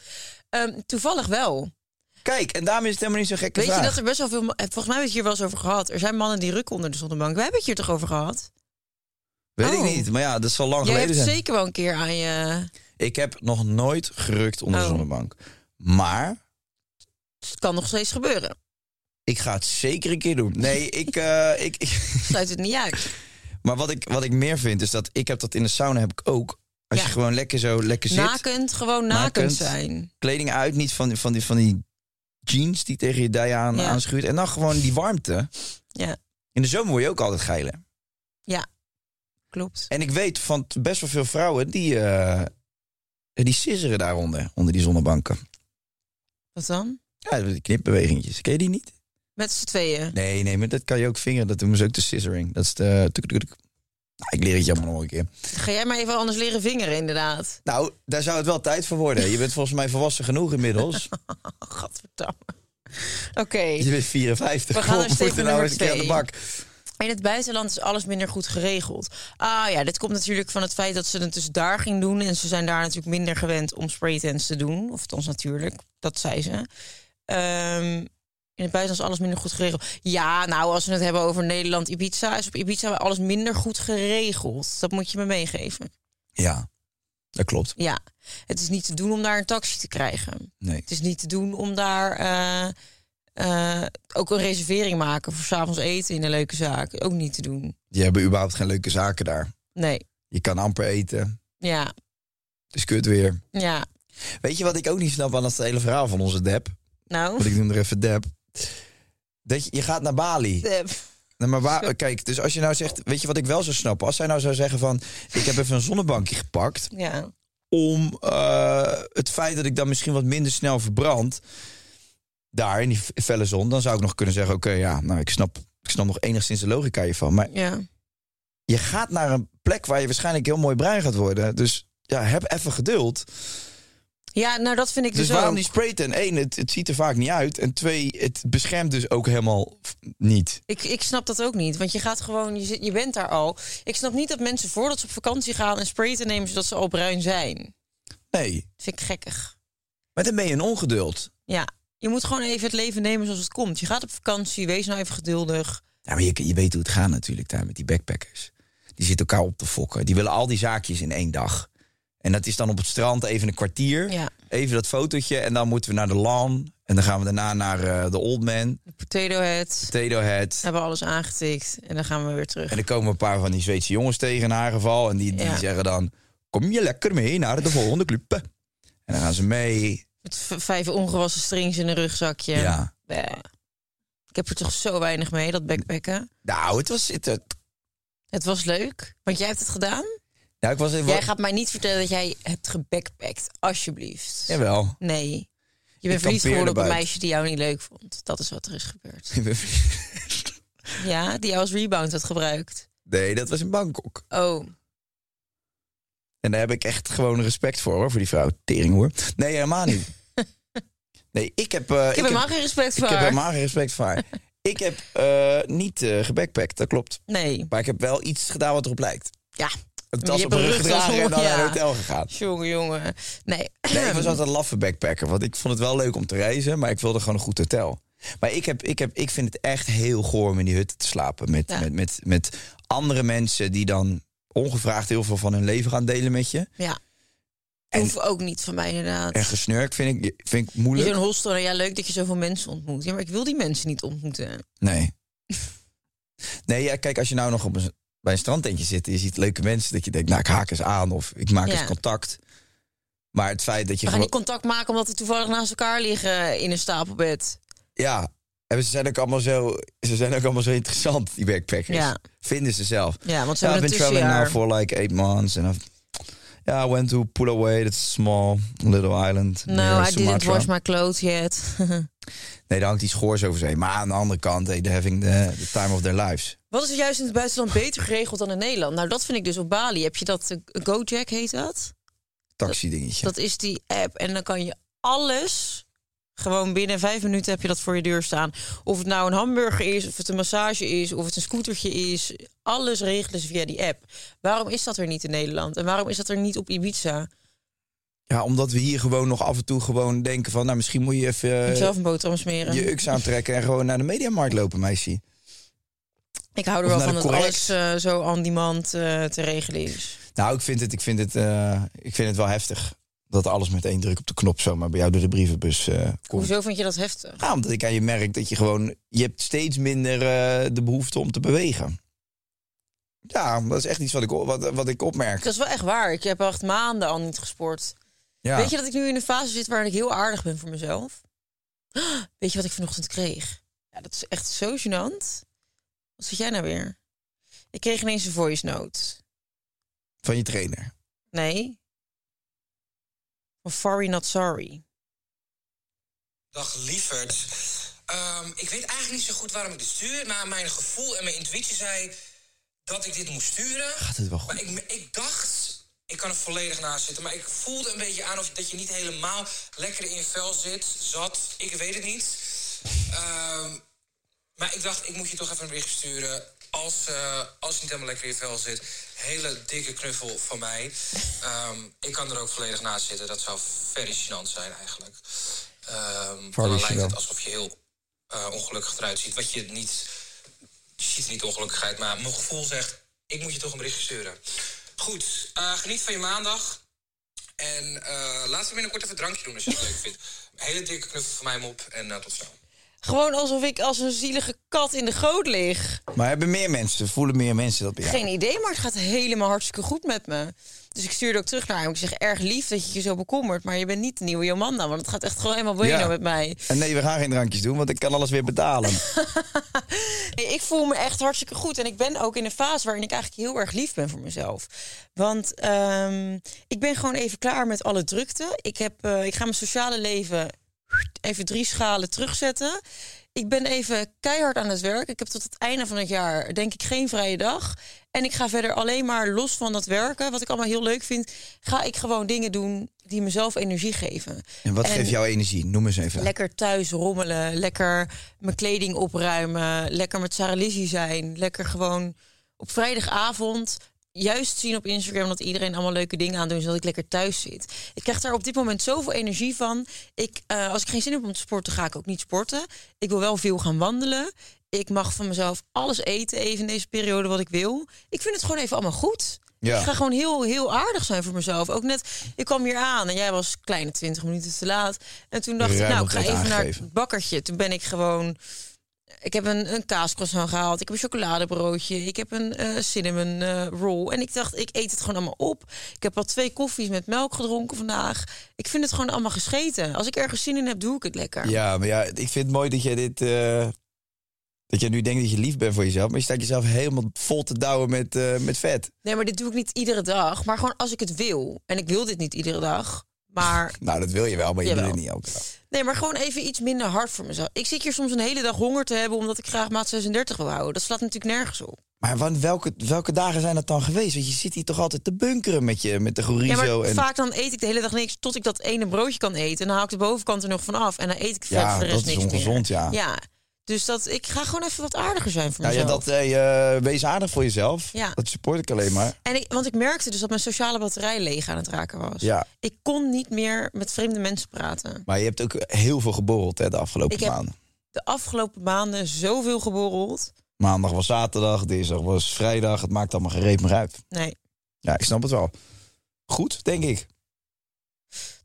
[SPEAKER 6] Ehm, toevallig wel.
[SPEAKER 5] Kijk, en daarom is het helemaal niet zo'n gekke
[SPEAKER 6] Weet
[SPEAKER 5] vraag.
[SPEAKER 6] je dat er best wel veel. ma- eh, Volgens mij hebben we het hier wel eens over gehad. Er zijn mannen die rukken onder de zonnebank. We hebben het hier toch over gehad?
[SPEAKER 5] Weet ik
[SPEAKER 6] Oh.
[SPEAKER 5] niet, maar ja, dat zal lang
[SPEAKER 6] Jij hebt
[SPEAKER 5] geleden zijn.
[SPEAKER 6] zeker wel een keer aan je.
[SPEAKER 5] Ik heb nog nooit gerukt onder de
[SPEAKER 6] Oh.
[SPEAKER 5] zonnebank. Maar
[SPEAKER 6] Het kan nog steeds gebeuren.
[SPEAKER 5] ik ga het zeker een keer doen. Nee, ik, eh, ik, ik-
[SPEAKER 6] Sluit het niet uit.
[SPEAKER 5] Maar wat ik, wat ik meer vind is dat ik heb dat in de sauna heb ik ook. Als
[SPEAKER 6] Ja.
[SPEAKER 5] je gewoon lekker zo lekker zit,
[SPEAKER 6] Nakend, gewoon nakend
[SPEAKER 5] Nakend.
[SPEAKER 6] zijn.
[SPEAKER 5] kleding uit, niet van, die- van, die, van die jeans die tegen je dij aan,
[SPEAKER 6] Ja.
[SPEAKER 5] aanschuurt. En dan gewoon die warmte.
[SPEAKER 6] Ja,
[SPEAKER 5] In de zomer word je ook altijd geilen.
[SPEAKER 6] ja. klopt.
[SPEAKER 5] En ik weet van t- best wel veel vrouwen die, eh, die sisseren daaronder, onder die zonnebanken.
[SPEAKER 6] Wat dan?
[SPEAKER 5] Ja, die knipbewegingjes. Ken je die niet?
[SPEAKER 6] Met z'n tweeën.
[SPEAKER 5] Nee, nee, maar dat kan je ook vingeren. Dat doen ze ook de scissoring. Dat is de... tuk, tuk, tuk. Nou, ik leer het je allemaal nog een keer.
[SPEAKER 6] Ga jij maar even anders leren vingeren, inderdaad.
[SPEAKER 5] Nou, daar zou het wel tijd voor worden. Je bent volgens mij volwassen genoeg inmiddels.
[SPEAKER 6] Oh, godverdamme. Oké.
[SPEAKER 5] Je bent 54.
[SPEAKER 6] We gaan
[SPEAKER 5] Kom,
[SPEAKER 6] naar statement
[SPEAKER 5] moeten nou
[SPEAKER 6] nummer
[SPEAKER 5] eens een keer aan de
[SPEAKER 6] twee.
[SPEAKER 5] bak.
[SPEAKER 6] In het buitenland is alles minder goed geregeld. Ah ja, dit komt natuurlijk van het feit dat ze het dus daar ging doen. En ze zijn daar natuurlijk minder gewend om spraytents te doen. Of althans natuurlijk, dat zei ze. Ehm, in het buitenland is alles minder goed geregeld. Ja, nou, als we het hebben over Nederland, Ibiza... is op Ibiza alles minder goed geregeld. Dat moet je me meegeven.
[SPEAKER 5] Ja, dat klopt.
[SPEAKER 6] Ja, het is niet te doen om daar een taxi te krijgen.
[SPEAKER 5] Nee.
[SPEAKER 6] Het is niet te doen om daar eh, eh, ook een reservering maken... voor 's avonds eten in een leuke zaak. Ook niet te doen.
[SPEAKER 5] Die hebben überhaupt geen leuke zaken daar.
[SPEAKER 6] Nee.
[SPEAKER 5] Je kan amper eten.
[SPEAKER 6] Ja,
[SPEAKER 5] Het is kut weer.
[SPEAKER 6] ja.
[SPEAKER 5] Weet je wat ik ook niet snap aan dat hele verhaal van onze dep?
[SPEAKER 6] Nou,
[SPEAKER 5] Want ik noem er even dep. Dat je, je gaat naar Bali.
[SPEAKER 6] eh,
[SPEAKER 5] Nou, maar waar, kijk, dus als je nou zegt... Weet je wat ik wel zou snappen? Als zij nou zou zeggen van... Ik heb even een zonnebankje gepakt...
[SPEAKER 6] ja.
[SPEAKER 5] om eh, het feit dat ik dan misschien wat minder snel verbrand. Daar in die felle zon, dan zou ik nog kunnen zeggen: Oké, ja, nou, ik snap, ik snap nog enigszins de logica hiervan. Maar
[SPEAKER 6] ja.
[SPEAKER 5] je gaat naar een plek waar je waarschijnlijk heel mooi bruin gaat worden. Dus ja, heb even geduld.
[SPEAKER 6] Ja, nou dat vind ik
[SPEAKER 5] Dus,
[SPEAKER 6] dus,
[SPEAKER 5] waarom
[SPEAKER 6] ook.
[SPEAKER 5] die spray ten? Eén, het, het ziet er vaak niet uit. En twee, het beschermt dus ook helemaal f- niet.
[SPEAKER 6] Ik, ik snap dat ook niet, want je gaat gewoon, je, zit, je bent daar al. Ik snap niet dat mensen voordat ze op vakantie gaan een spray te nemen zodat ze al bruin zijn.
[SPEAKER 5] Nee,
[SPEAKER 6] Dat vind ik gekkig.
[SPEAKER 5] maar dan ben je een ongeduld.
[SPEAKER 6] Ja, je moet gewoon even het leven nemen zoals het komt. Je gaat op vakantie, wees nou even geduldig.
[SPEAKER 5] Ja, maar je, je weet hoe het gaat natuurlijk daar met die backpackers. Die zitten elkaar op te fokken. Die willen al die zaakjes in één dag. En dat is dan op het strand even een kwartier.
[SPEAKER 6] Ja.
[SPEAKER 5] Even dat fotootje. En dan moeten we naar de lawn. En dan gaan we daarna naar eh, de Old Man,
[SPEAKER 6] De potato head,
[SPEAKER 5] Potato Head.
[SPEAKER 6] hebben alles aangetikt en dan gaan we weer terug.
[SPEAKER 5] En dan komen een paar van die Zweedse jongens tegen in haar geval. En die, die
[SPEAKER 6] Ja.
[SPEAKER 5] zeggen dan, kom je lekker mee naar de volgende club. En dan gaan ze mee.
[SPEAKER 6] Met v- vijf ongewassen strings in een rugzakje.
[SPEAKER 5] Ja.
[SPEAKER 6] Bleh. Ik heb er toch zo weinig mee, dat backpacken.
[SPEAKER 5] Nou, het was... Het, het-
[SPEAKER 6] Het was leuk, want jij hebt het gedaan.
[SPEAKER 5] nou, ik was even...
[SPEAKER 6] Jij gaat mij niet vertellen dat jij hebt gebackpackt, alsjeblieft.
[SPEAKER 5] Jawel.
[SPEAKER 6] Nee. Je
[SPEAKER 5] kampeer
[SPEAKER 6] bent verliefd geworden op een
[SPEAKER 5] erbuiten.
[SPEAKER 6] meisje die jou niet leuk vond. Dat is wat er is gebeurd.
[SPEAKER 5] Ik ben-
[SPEAKER 6] Ja, die jou als rebound had gebruikt.
[SPEAKER 5] Nee, dat was in Bangkok.
[SPEAKER 6] Oh,
[SPEAKER 5] En daar heb ik echt gewoon respect voor, hoor, voor die vrouw. Tering, hoor. Nee, helemaal niet. Nee, ik heb... eh,
[SPEAKER 6] ik heb helemaal geen respect voor
[SPEAKER 5] Ik heb
[SPEAKER 6] haar.
[SPEAKER 5] helemaal geen respect voor haar. ik heb eh, niet eh gebackpackt, dat klopt.
[SPEAKER 6] Nee,
[SPEAKER 5] Maar ik heb wel iets gedaan wat erop lijkt.
[SPEAKER 6] ja.
[SPEAKER 5] Een
[SPEAKER 6] Je
[SPEAKER 5] tas op
[SPEAKER 6] hebt
[SPEAKER 5] mijn
[SPEAKER 6] een
[SPEAKER 5] rug
[SPEAKER 6] rugtas
[SPEAKER 5] gedragen en dan
[SPEAKER 6] om,
[SPEAKER 5] naar
[SPEAKER 6] ja.
[SPEAKER 5] een hotel gegaan.
[SPEAKER 6] Jongen, jongen. Nee.
[SPEAKER 5] Nee, ik was altijd een laffe backpacker. Want ik vond het wel leuk om te reizen, maar ik wilde gewoon een goed hotel. Maar ik, heb, ik, heb, ik vind het echt heel goor om in die hutten te slapen. Met,
[SPEAKER 6] Ja.
[SPEAKER 5] met, met, met andere mensen die dan ongevraagd heel veel van hun leven gaan delen met je.
[SPEAKER 6] Ja.
[SPEAKER 5] En-
[SPEAKER 6] Hoef ook niet van mij, inderdaad.
[SPEAKER 5] En gesnurkt vind ik, vind ik
[SPEAKER 6] Je
[SPEAKER 5] moeilijk.
[SPEAKER 6] zo'n hostel, en ja, leuk dat je zoveel mensen ontmoet. Ja, maar ik wil die mensen niet ontmoeten.
[SPEAKER 5] Nee. Nee, ja, kijk, als je nou nog op een, bij een strandtentje zit... en je ziet leuke mensen, dat je denkt, nou, ik haak eens aan... of ik maak
[SPEAKER 6] Ja.
[SPEAKER 5] eens contact. Maar het feit dat je
[SPEAKER 6] We gaan
[SPEAKER 5] gewoon...
[SPEAKER 6] niet contact maken omdat we toevallig naast elkaar liggen in een stapelbed.
[SPEAKER 5] Ja, en ze zijn, ook allemaal zo, ze zijn ook allemaal zo interessant, die backpackers.
[SPEAKER 6] Ja.
[SPEAKER 5] Vinden ze zelf.
[SPEAKER 6] Ja, want ze
[SPEAKER 5] Ja, I've
[SPEAKER 6] hebben
[SPEAKER 5] been
[SPEAKER 6] een
[SPEAKER 5] traveling now
[SPEAKER 6] tussenjaar.
[SPEAKER 5] for like eight months. And I've, yeah, I went to Pulaway, that's a small little island.
[SPEAKER 6] No,
[SPEAKER 5] near
[SPEAKER 6] Nou, I didn't
[SPEAKER 5] Sumatra.
[SPEAKER 6] wash my clothes yet.
[SPEAKER 5] Nee, daar hangt iets schoors over zee. Maar aan de andere kant, hey, they're having the, the time of their lives.
[SPEAKER 6] Wat is er juist in het buitenland beter geregeld dan in Nederland? Nou, dat vind ik dus op Bali. Heb je dat, eh, Gojek heet dat?
[SPEAKER 5] Taxi dingetje.
[SPEAKER 6] Dat is die app en dan kan je alles, gewoon binnen vijf minuten heb je dat voor je deur staan. Of het nou een hamburger is, of het een massage is, of het een scootertje is. Alles regelen ze via die app. Waarom is dat er niet in Nederland? En waarom is dat er niet op Ibiza?
[SPEAKER 5] Ja, omdat we hier gewoon nog af en toe gewoon denken van... nou, misschien moet je even eh,
[SPEAKER 6] Om zelf een boterham smeren.
[SPEAKER 5] je uks aantrekken... en gewoon naar de mediamarkt lopen, meisje.
[SPEAKER 6] Ik hou er
[SPEAKER 5] Of
[SPEAKER 6] wel
[SPEAKER 5] naar
[SPEAKER 6] van
[SPEAKER 5] de
[SPEAKER 6] dat
[SPEAKER 5] Correx.
[SPEAKER 6] alles eh, zo on demand eh, te regelen is.
[SPEAKER 5] Nou, ik vind het, ik vind het, eh, ik vind het wel heftig... dat alles met één druk op de knop zomaar bij jou door de brievenbus eh, komt.
[SPEAKER 6] Hoezo vond je dat heftig?
[SPEAKER 5] Ja, omdat ik aan je merk dat je gewoon... je hebt steeds minder eh, de behoefte om te bewegen. Ja, dat is echt iets wat ik, o- wat, wat ik opmerk.
[SPEAKER 6] Dat is wel echt waar. Ik heb acht maanden al niet gesport.
[SPEAKER 5] Ja.
[SPEAKER 6] Weet je dat ik nu in een fase zit waarin ik heel aardig ben voor mezelf? Weet je wat ik vanochtend kreeg? Ja, dat is echt zo gênant. Wat zit jij nou weer? Ik kreeg ineens een voice note.
[SPEAKER 5] Van je trainer.
[SPEAKER 6] Nee. Van Sorry Not Sorry.
[SPEAKER 1] Dag Dus, lieverd. Ehm, ik weet eigenlijk niet zo goed waarom ik dit stuur, maar mijn gevoel en mijn intuïtie zei... dat ik dit moest sturen.
[SPEAKER 5] Gaat het wel goed?
[SPEAKER 1] Maar ik, ik dacht, ik kan er volledig naast zitten. Maar ik voelde een beetje aan of dat je niet helemaal lekker in je vel zit, zat. Ik weet het niet. Ehm, maar ik dacht, ik moet je toch even een bericht sturen. Als, eh, als je niet helemaal lekker in je vel zit, hele dikke knuffel van mij. Ehm, ik kan er ook volledig naast zitten. Dat zou very gênant zijn eigenlijk. Ehm
[SPEAKER 5] Very
[SPEAKER 1] dan lijkt
[SPEAKER 5] gênant.
[SPEAKER 1] het alsof je heel eh, ongelukkig eruit ziet. Wat je niet je ziet niet ongelukkigheid, maar mijn gevoel zegt... ik moet je toch een berichtje sturen. Goed, eh, geniet van je maandag. En eh laten we binnenkort even een drankje doen als je het leuk vindt. Een hele dikke knuffel van mij op en eh, tot zo.
[SPEAKER 6] Gewoon alsof ik als een zielige kat in de goot lig.
[SPEAKER 5] Maar hebben meer mensen, voelen meer mensen dat bij jou?
[SPEAKER 6] Geen idee, maar het gaat helemaal hartstikke goed met me. Dus ik stuurde ook terug naar hem. Ik zeg, erg lief dat je je zo bekommert. Maar je bent niet de nieuwe Jomanda. Want het gaat echt gewoon helemaal bueno
[SPEAKER 5] Ja.
[SPEAKER 6] met mij.
[SPEAKER 5] En nee, we gaan geen drankjes doen, want ik kan alles weer betalen.
[SPEAKER 6] Nee, ik voel me echt hartstikke goed. En ik ben ook in een fase waarin ik eigenlijk heel erg lief ben voor mezelf. Want ehm, ik ben gewoon even klaar met alle drukte. Ik, heb, eh, ik ga mijn sociale leven even drie schalen terugzetten. Ik ben even keihard aan het werk. Ik heb tot het einde van het jaar, denk ik, geen vrije dag. En ik ga verder alleen maar los van dat werken, wat ik allemaal heel leuk vind, ga ik gewoon dingen doen die mezelf energie geven.
[SPEAKER 5] En wat geeft jou energie? Noem eens even.
[SPEAKER 6] Lekker thuis rommelen, lekker mijn kleding opruimen, lekker met Sarah Lizzie zijn, lekker gewoon op vrijdagavond juist zien op Instagram dat iedereen allemaal leuke dingen aan doet, zodat ik lekker thuis zit. Ik krijg daar op dit moment zoveel energie van. Ik, eh, als ik geen zin heb om te sporten, ga ik ook niet sporten. Ik wil wel veel gaan wandelen. Ik mag van mezelf alles eten even in deze periode wat ik wil. Ik vind het gewoon even allemaal goed.
[SPEAKER 5] Ja.
[SPEAKER 6] Ik ga gewoon heel, heel aardig zijn voor mezelf. Ook net, ik kwam hier aan en jij was kleine 20 minuten te laat. En toen dacht ik,
[SPEAKER 5] Ruim
[SPEAKER 6] nou,
[SPEAKER 5] op
[SPEAKER 6] ik ga
[SPEAKER 5] tijd
[SPEAKER 6] even naar
[SPEAKER 5] aangegeven.
[SPEAKER 6] het bakkertje. Toen ben ik gewoon... Ik heb een, een kaascroissant gehaald. Ik heb een chocoladebroodje. Ik heb een eh, cinnamon eh, roll. En ik dacht, ik eet het gewoon allemaal op. Ik heb al twee koffies met melk gedronken vandaag. Ik vind het gewoon allemaal gescheten. Als ik ergens zin in heb, doe ik het lekker.
[SPEAKER 5] Ja, maar ja, ik vind het mooi dat jij dit. eh, dat jij nu denkt dat je lief bent voor jezelf, maar je staat jezelf helemaal vol te douwen met, eh, met vet.
[SPEAKER 6] Nee, maar dit doe ik niet iedere dag. Maar gewoon als ik het wil. En ik wil dit niet iedere dag. Maar
[SPEAKER 5] Nou, dat wil je wel, maar je wil
[SPEAKER 6] Jawel.
[SPEAKER 5] het niet elke dag.
[SPEAKER 6] Nee, maar gewoon even iets minder hard voor mezelf. Ik zit hier soms een hele dag honger te hebben omdat ik graag maat 36 wil houden. Dat slaat natuurlijk nergens op.
[SPEAKER 5] Maar wan- welke, welke dagen zijn dat dan geweest? Want je zit hier toch altijd te bunkeren met, je, met de
[SPEAKER 6] Ja,
[SPEAKER 5] chorizo.
[SPEAKER 6] maar
[SPEAKER 5] en...
[SPEAKER 6] vaak dan eet ik de hele dag niks tot ik dat ene broodje kan eten. En dan haal ik de bovenkant er nog van af en dan eet ik vet
[SPEAKER 5] Ja,
[SPEAKER 6] voor de rest
[SPEAKER 5] dat is
[SPEAKER 6] niks
[SPEAKER 5] ongezond,
[SPEAKER 6] meer.
[SPEAKER 5] ja.
[SPEAKER 6] Ja, dus dat, ik ga gewoon even wat aardiger zijn voor
[SPEAKER 5] nou ja,
[SPEAKER 6] mezelf.
[SPEAKER 5] dat, eh, eh, wees aardig voor jezelf.
[SPEAKER 6] Ja.
[SPEAKER 5] Dat support ik alleen maar.
[SPEAKER 6] En ik, want ik merkte dus dat mijn sociale batterij leeg aan het raken was.
[SPEAKER 5] Ja.
[SPEAKER 6] Ik kon niet meer met vreemde mensen praten.
[SPEAKER 5] Maar je hebt ook heel veel geborreld hè, de afgelopen
[SPEAKER 6] Ik heb-
[SPEAKER 5] maanden.
[SPEAKER 6] De afgelopen maanden zoveel geborreld.
[SPEAKER 5] Maandag was zaterdag, dinsdag was vrijdag. Het maakt allemaal geen reet meer uit.
[SPEAKER 6] Nee,
[SPEAKER 5] Ja, ik snap het wel. Goed, denk ik.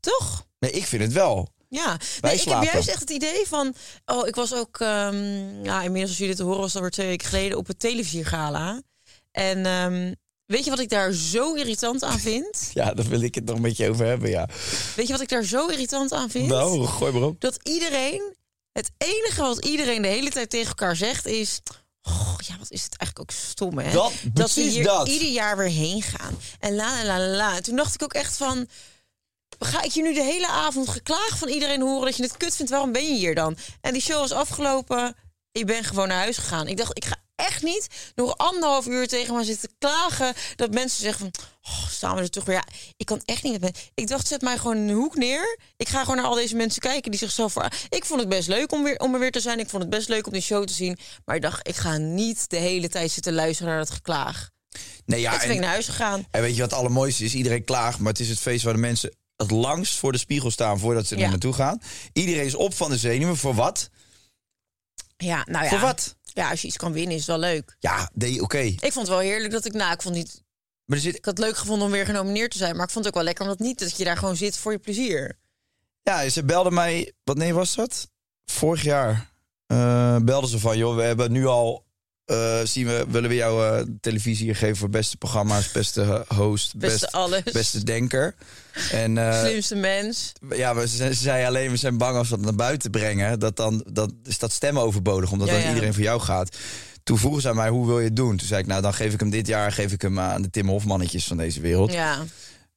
[SPEAKER 6] toch?
[SPEAKER 5] Nee, ik vind het wel.
[SPEAKER 6] Ja,
[SPEAKER 5] Wij
[SPEAKER 6] nee, ik heb
[SPEAKER 5] slapen.
[SPEAKER 6] juist echt het idee van... Oh, ik was ook... ehm ja, inmiddels als jullie het horen was het alweer twee weken geleden... op het televisiergala. En ehm, weet je wat ik daar zo irritant aan vind?
[SPEAKER 5] Ja, daar wil ik het nog met je over hebben, ja.
[SPEAKER 6] Weet je wat ik daar zo irritant aan vind?
[SPEAKER 5] Nou, gooi maar op.
[SPEAKER 6] Dat iedereen... Het enige wat iedereen de hele tijd tegen elkaar zegt is... "Goh, ja, wat is het eigenlijk ook stom, hè?
[SPEAKER 5] Dat-
[SPEAKER 6] dat ze
[SPEAKER 5] precies
[SPEAKER 6] hier
[SPEAKER 5] dat.
[SPEAKER 6] ieder jaar weer heen gaan. En la, la, la, la, la. En Toen dacht ik ook echt van... Ga ik je nu de hele avond geklaag van iedereen horen dat je het kut vindt? Waarom ben je hier dan? En die show was afgelopen. Ik ben gewoon naar huis gegaan. Ik dacht, ik ga echt niet nog anderhalf uur tegen me zitten klagen. Dat mensen zeggen van, oh, staan we er toch weer. Ja, ik kan echt niet met mensen. Ik dacht, zet mij gewoon in een hoek neer. Ik ga gewoon naar al deze mensen kijken die zichzelf... voor- Ik vond het best leuk om, weer, om er weer te zijn. Ik vond het best leuk om die show te zien. Maar ik dacht, ik ga niet de hele tijd zitten luisteren naar dat geklaag.
[SPEAKER 5] Nee,
[SPEAKER 6] en
[SPEAKER 5] ja,
[SPEAKER 6] toen ben ik nou-
[SPEAKER 5] en,
[SPEAKER 6] naar huis gegaan.
[SPEAKER 5] en weet je wat het allermooiste is? Iedereen klaagt, maar het is het feest waar de mensen het langst voor de spiegel staan voordat ze er
[SPEAKER 6] Ja.
[SPEAKER 5] naartoe gaan. Iedereen is op van de zenuwen. Voor wat?
[SPEAKER 6] Ja, nou ja.
[SPEAKER 5] Voor wat?
[SPEAKER 6] Ja, als je iets kan winnen is het wel leuk.
[SPEAKER 5] Ja, nee, oké.
[SPEAKER 6] Ik vond het wel heerlijk dat ik... Nou, ik vond niet...
[SPEAKER 5] Maar er zit
[SPEAKER 6] Ik had het leuk gevonden om weer genomineerd te zijn. Maar ik vond het ook wel lekker omdat niet dat je daar gewoon zit voor je plezier.
[SPEAKER 5] Ja, ze belden mij. Wat nee was dat? Vorig jaar eh, belden ze van, joh, we hebben nu al. eh, zien we, willen we jou eh, televisie hier geven voor beste programma's, beste eh, host,
[SPEAKER 6] Beste alles.
[SPEAKER 5] beste denker. En eh,
[SPEAKER 6] Slimste mens.
[SPEAKER 5] ja, maar ze, ze zei alleen, we zijn bang als we dat naar buiten brengen, dat dan dat is dat stem overbodig, omdat
[SPEAKER 6] Ja,
[SPEAKER 5] dan
[SPEAKER 6] ja.
[SPEAKER 5] iedereen voor jou gaat. Toen vroegen ze aan mij, hoe wil je het doen? Toen zei ik, nou, dan geef ik hem dit jaar, geef ik hem aan de Tim Hofmannetjes van deze wereld.
[SPEAKER 6] Ja.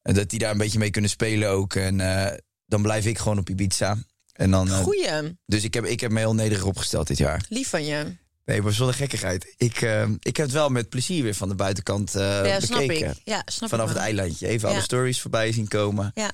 [SPEAKER 5] En dat die daar een beetje mee kunnen spelen ook. En eh, dan blijf ik gewoon op Ibiza. En dan, eh,
[SPEAKER 6] Goeie.
[SPEAKER 5] dus ik heb, ik heb me heel nederig opgesteld dit jaar.
[SPEAKER 6] Lief van je.
[SPEAKER 5] Nee, maar zonder gekkigheid. Ik, eh, ik heb het wel met plezier weer van de buitenkant eh
[SPEAKER 6] ja, snap
[SPEAKER 5] bekeken.
[SPEAKER 6] ik. Ja, snap
[SPEAKER 5] Vanaf
[SPEAKER 6] ik
[SPEAKER 5] het
[SPEAKER 6] wel.
[SPEAKER 5] eilandje. Even alle
[SPEAKER 6] Ja.
[SPEAKER 5] stories voorbij zien komen.
[SPEAKER 6] Ja.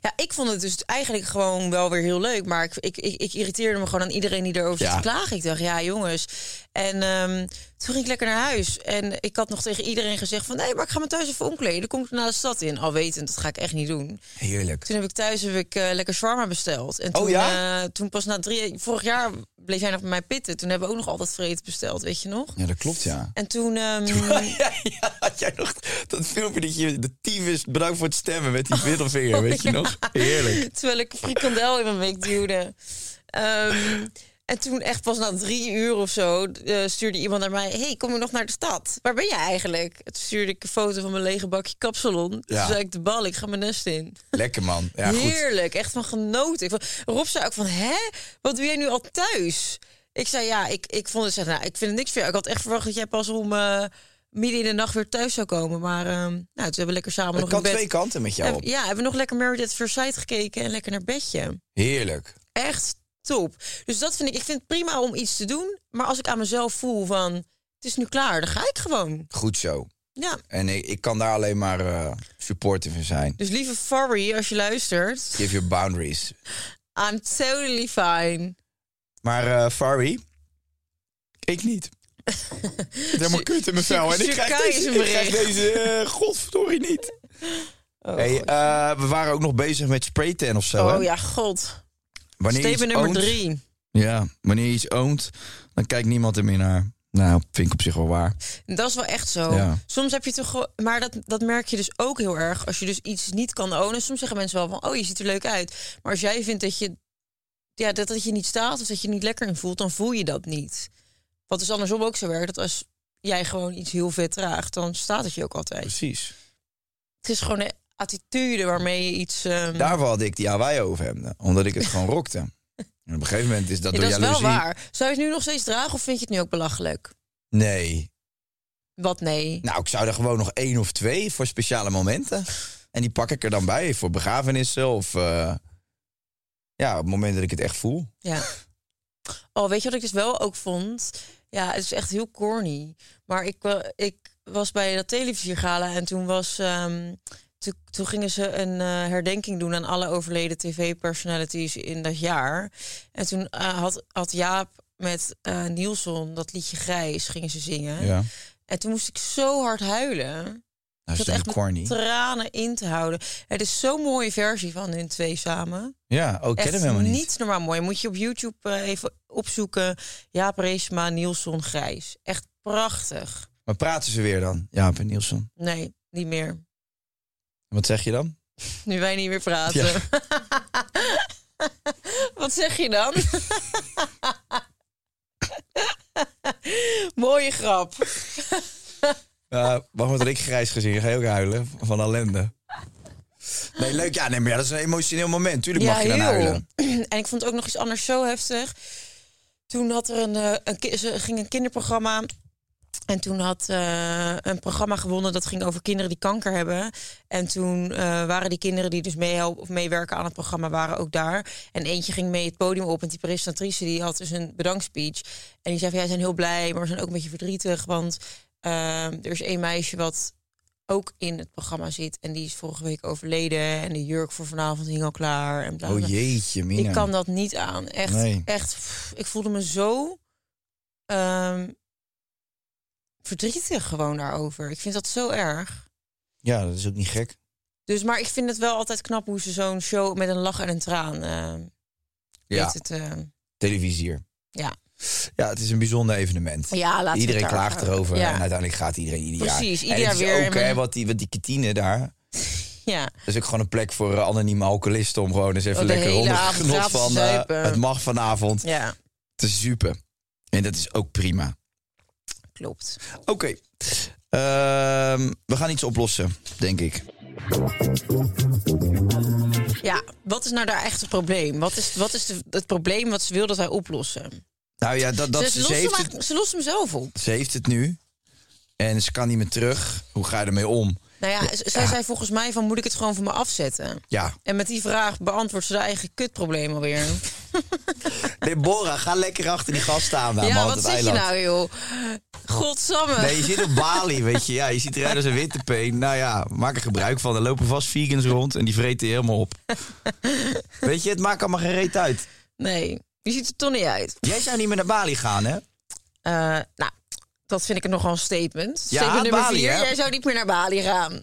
[SPEAKER 6] Ja, ik vond het dus eigenlijk gewoon wel weer heel leuk. Maar ik, ik, ik, ik irriteerde me gewoon aan iedereen die erover zit
[SPEAKER 5] Ja.
[SPEAKER 6] te klagen. Ik dacht, ja jongens. En ehm, toen ging ik lekker naar huis. En ik had nog tegen iedereen gezegd van... nee, maar ik ga me thuis even omkleden. Dan kom ik naar de stad in. Al wetend, dat ga ik echt niet doen.
[SPEAKER 5] Heerlijk.
[SPEAKER 6] Toen heb ik thuis heb ik, eh, lekker shawarma besteld. En
[SPEAKER 5] Oh,
[SPEAKER 6] toen,
[SPEAKER 5] ja?
[SPEAKER 6] eh, toen pas na drie... Vorig jaar bleef jij nog bij mij pitten. Toen hebben we ook nog al dat vreten besteld, weet je nog?
[SPEAKER 5] Ja, dat klopt, ja.
[SPEAKER 6] En toen... ehm,
[SPEAKER 5] ja, ja, had jij nog dat filmpje dat je de tyfus bedankt voor het stemmen met die middelvinger, weet
[SPEAKER 6] Oh,
[SPEAKER 5] je nog? Heerlijk.
[SPEAKER 6] Terwijl ik een frikandel in mijn bek duwde. Ehm, en toen echt pas na drie uur of zo eh, stuurde iemand naar mij... hey, kom je nog naar de stad? Waar ben je eigenlijk? Toen stuurde ik een foto van mijn lege bakje kapsalon.
[SPEAKER 5] Ja.
[SPEAKER 6] Toen zei ik de bal, ik ga mijn nest in.
[SPEAKER 5] Lekker man. Ja, goed.
[SPEAKER 6] Heerlijk, echt van genoten. Ik vond- Rob zei ook van, hè? Wat doe jij nu al thuis? Ik zei, ja, ik, ik vond het, zeg, nou, ik vind het niks voor jou. Ik had echt verwacht dat jij pas om eh, midden in de nacht weer thuis zou komen. Maar ehm, nou, toen hebben we lekker samen
[SPEAKER 5] Het
[SPEAKER 6] nog
[SPEAKER 5] kan
[SPEAKER 6] in bed...
[SPEAKER 5] twee kanten met jou
[SPEAKER 6] Heb-
[SPEAKER 5] op.
[SPEAKER 6] ja, hebben we nog lekker Married at First Sight gekeken en lekker naar bedje.
[SPEAKER 5] Heerlijk.
[SPEAKER 6] Echt top. Dus dat vind ik, ik vind het prima om iets te doen. Maar als ik aan mezelf voel van, het is nu klaar, dan ga ik gewoon.
[SPEAKER 5] Goed zo.
[SPEAKER 6] Ja.
[SPEAKER 5] En ik, ik kan daar alleen maar eh supportive in zijn.
[SPEAKER 6] Dus lieve Farry, als je luistert,
[SPEAKER 5] Give your boundaries.
[SPEAKER 6] I'm totally fine.
[SPEAKER 5] Maar eh Fari, ik niet. Ik zit helemaal kut in mijn vel. En ik
[SPEAKER 6] Sirkai
[SPEAKER 5] krijg
[SPEAKER 6] is
[SPEAKER 5] deze,
[SPEAKER 6] een
[SPEAKER 5] ik krijg
[SPEAKER 6] bericht.
[SPEAKER 5] deze eh, godverdorie niet.
[SPEAKER 6] Oh,
[SPEAKER 5] Hey,
[SPEAKER 6] god.
[SPEAKER 5] eh, we waren ook nog bezig met spraytan of zo. hè?
[SPEAKER 6] oh ja, god.
[SPEAKER 5] Wanneer je
[SPEAKER 6] Steven
[SPEAKER 5] iets
[SPEAKER 6] nummer
[SPEAKER 5] oont-
[SPEAKER 6] drie.
[SPEAKER 5] Ja, wanneer je iets oont, dan kijkt niemand er meer naar. Nou, vind ik op zich wel waar.
[SPEAKER 6] Dat is wel echt zo.
[SPEAKER 5] Ja.
[SPEAKER 6] Soms heb je toch... gewoon- Maar dat, dat merk je dus ook heel erg. Als je dus iets niet kan ownen. Soms zeggen mensen wel van... Oh, je ziet er leuk uit. Maar als jij vindt dat je... Ja, dat, dat je niet staat of dat je er niet lekker in voelt... dan voel je dat niet. Wat is andersom ook zo werkt. Dat als jij gewoon iets heel vet draagt... dan staat het je ook altijd.
[SPEAKER 5] Precies.
[SPEAKER 6] Het is gewoon een attitude waarmee je iets... ehm,
[SPEAKER 5] Daarvoor had ik die Hawaii over hem. Omdat ik het gewoon rokte. En op een gegeven moment is dat
[SPEAKER 6] ja,
[SPEAKER 5] door
[SPEAKER 6] dat is wel
[SPEAKER 5] jaloezie.
[SPEAKER 6] waar. Zou je het nu nog steeds dragen of vind je het nu ook belachelijk?
[SPEAKER 5] Nee,
[SPEAKER 6] Wat nee?
[SPEAKER 5] Nou, ik zou er gewoon nog één of twee voor speciale momenten. En die pak ik er dan bij voor begrafenissen of eh, ja, op het moment dat ik het echt voel.
[SPEAKER 6] Ja. Oh, weet je wat ik dus wel ook vond? Ja, het is echt heel corny. Maar ik, wa- ik was bij dat televisiergala en toen was... ehm, toen, toen gingen ze een eh, herdenking doen aan alle overleden tv-personalities in dat jaar. En toen eh, had, had Jaap met eh Nielsen dat liedje Grijs gingen ze zingen.
[SPEAKER 5] Ja.
[SPEAKER 6] En toen moest ik zo hard huilen.
[SPEAKER 5] Dat is toch
[SPEAKER 6] ik
[SPEAKER 5] echt
[SPEAKER 6] had echt
[SPEAKER 5] Nou, corny.
[SPEAKER 6] mijn tranen in te houden. Het is zo'n mooie versie van hun twee samen.
[SPEAKER 5] Ja, ook ken
[SPEAKER 6] Echt
[SPEAKER 5] hem helemaal niet.
[SPEAKER 6] normaal mooi. Moet je op YouTube eh, even opzoeken. Jaap Reesma, Nielsen, Grijs. Echt prachtig.
[SPEAKER 5] Maar praten ze weer dan? Ja, en Nielsen.
[SPEAKER 6] Nee, niet meer.
[SPEAKER 5] Wat zeg je dan?
[SPEAKER 6] Nu wij niet meer praten.
[SPEAKER 5] Ja.
[SPEAKER 6] Wat zeg je dan? Mooie grap.
[SPEAKER 5] Ja, wacht maar tot ik grijs gezien. Ga je ook huilen van ellende? Nee, leuk. Ja, nee, maar ja, dat is een emotioneel moment. Tuurlijk mag je dan
[SPEAKER 6] heel.
[SPEAKER 5] huilen.
[SPEAKER 6] En ik vond ook nog iets anders zo heftig. Toen had er een, eh, een ki- ze ging een kinderprogramma. En toen had eh, een programma gewonnen dat ging over kinderen die kanker hebben. En toen eh, waren die kinderen die dus meehelpen of meewerken aan het programma, waren ook daar. En eentje ging mee het podium op. En die presentatrice die had dus een bedankspeech. En die zei van jij zijn heel blij, maar we zijn ook een beetje verdrietig. Want eh, er is één meisje wat ook in het programma zit. En die is vorige week overleden. En de jurk voor vanavond hing al klaar. En bla bla.
[SPEAKER 5] Oh
[SPEAKER 6] bla.
[SPEAKER 5] jeetje, Mina.
[SPEAKER 6] Ik kan dat niet aan. Echt,
[SPEAKER 5] Nee.
[SPEAKER 6] echt. pff, Ik voelde me zo ehm, verdrietig gewoon daarover. Ik vind dat zo erg.
[SPEAKER 5] Ja, dat is ook niet gek.
[SPEAKER 6] Dus, maar ik vind het wel altijd knap hoe ze zo'n show met een lach en een traan. ehm
[SPEAKER 5] Ja,
[SPEAKER 6] weet het, ehm,
[SPEAKER 5] televisier.
[SPEAKER 6] ja.
[SPEAKER 5] Ja, het is een bijzonder evenement.
[SPEAKER 6] ja laten we het
[SPEAKER 5] iedereen
[SPEAKER 6] daar
[SPEAKER 5] klaagt
[SPEAKER 6] houden.
[SPEAKER 5] erover
[SPEAKER 6] Ja.
[SPEAKER 5] en uiteindelijk gaat iedereen ieder jaar.
[SPEAKER 6] Precies, ieder
[SPEAKER 5] en het
[SPEAKER 6] jaar
[SPEAKER 5] is
[SPEAKER 6] weer.
[SPEAKER 5] ook,
[SPEAKER 6] En-
[SPEAKER 5] hè, wat die, wat die kantine daar.
[SPEAKER 6] ja.
[SPEAKER 5] Dat is ook gewoon een plek voor eh, anonieme alcoholisten om gewoon eens even
[SPEAKER 6] Oh, de
[SPEAKER 5] lekker
[SPEAKER 6] hele
[SPEAKER 5] onder het
[SPEAKER 6] avond
[SPEAKER 5] genot
[SPEAKER 6] gratis
[SPEAKER 5] van
[SPEAKER 6] te
[SPEAKER 5] eh,
[SPEAKER 6] zuipen.
[SPEAKER 5] het mag vanavond
[SPEAKER 6] ja,
[SPEAKER 5] te zuipen. En dat is ook prima.
[SPEAKER 6] klopt.
[SPEAKER 5] Oké, Ehm, we gaan iets oplossen, denk ik.
[SPEAKER 6] Ja, wat is nou daar echt het probleem? Wat is, wat is de- het probleem wat ze wil dat wij oplossen?
[SPEAKER 5] Nou ja, dat, dat,
[SPEAKER 6] ze,
[SPEAKER 5] ze,
[SPEAKER 6] lost hem
[SPEAKER 5] heeft het,
[SPEAKER 6] eigenlijk- ze lost hem zelf op.
[SPEAKER 5] ze heeft het nu en ze kan niet meer terug. Hoe ga je ermee om?
[SPEAKER 6] Nou ja, z- zij zei volgens mij van moet ik het gewoon voor me afzetten?
[SPEAKER 5] Ja,
[SPEAKER 6] En met die vraag beantwoordt ze haar eigen kutprobleem alweer.
[SPEAKER 5] Deborah, ga lekker achter die gast staan daar,
[SPEAKER 6] ja,
[SPEAKER 5] man, op
[SPEAKER 6] wat
[SPEAKER 5] het
[SPEAKER 6] zeg
[SPEAKER 5] eiland.
[SPEAKER 6] je nou, joh? Godsamme.
[SPEAKER 5] Nee, je zit op Bali, weet je. Ja, je ziet eruit als een witte peen. Nou ja, maak er gebruik van. Er lopen vast vegans rond en die vreten je helemaal op. Weet je, het maakt allemaal geen reet uit.
[SPEAKER 6] Nee, je ziet er toch niet uit.
[SPEAKER 5] Jij zou niet meer naar Bali gaan, hè?
[SPEAKER 6] Eh, nou, dat vind ik nog wel een statement.
[SPEAKER 5] Ja,
[SPEAKER 6] statement nummer
[SPEAKER 5] Bali,
[SPEAKER 6] vier.
[SPEAKER 5] hè?
[SPEAKER 6] Jij zou niet meer naar Bali gaan.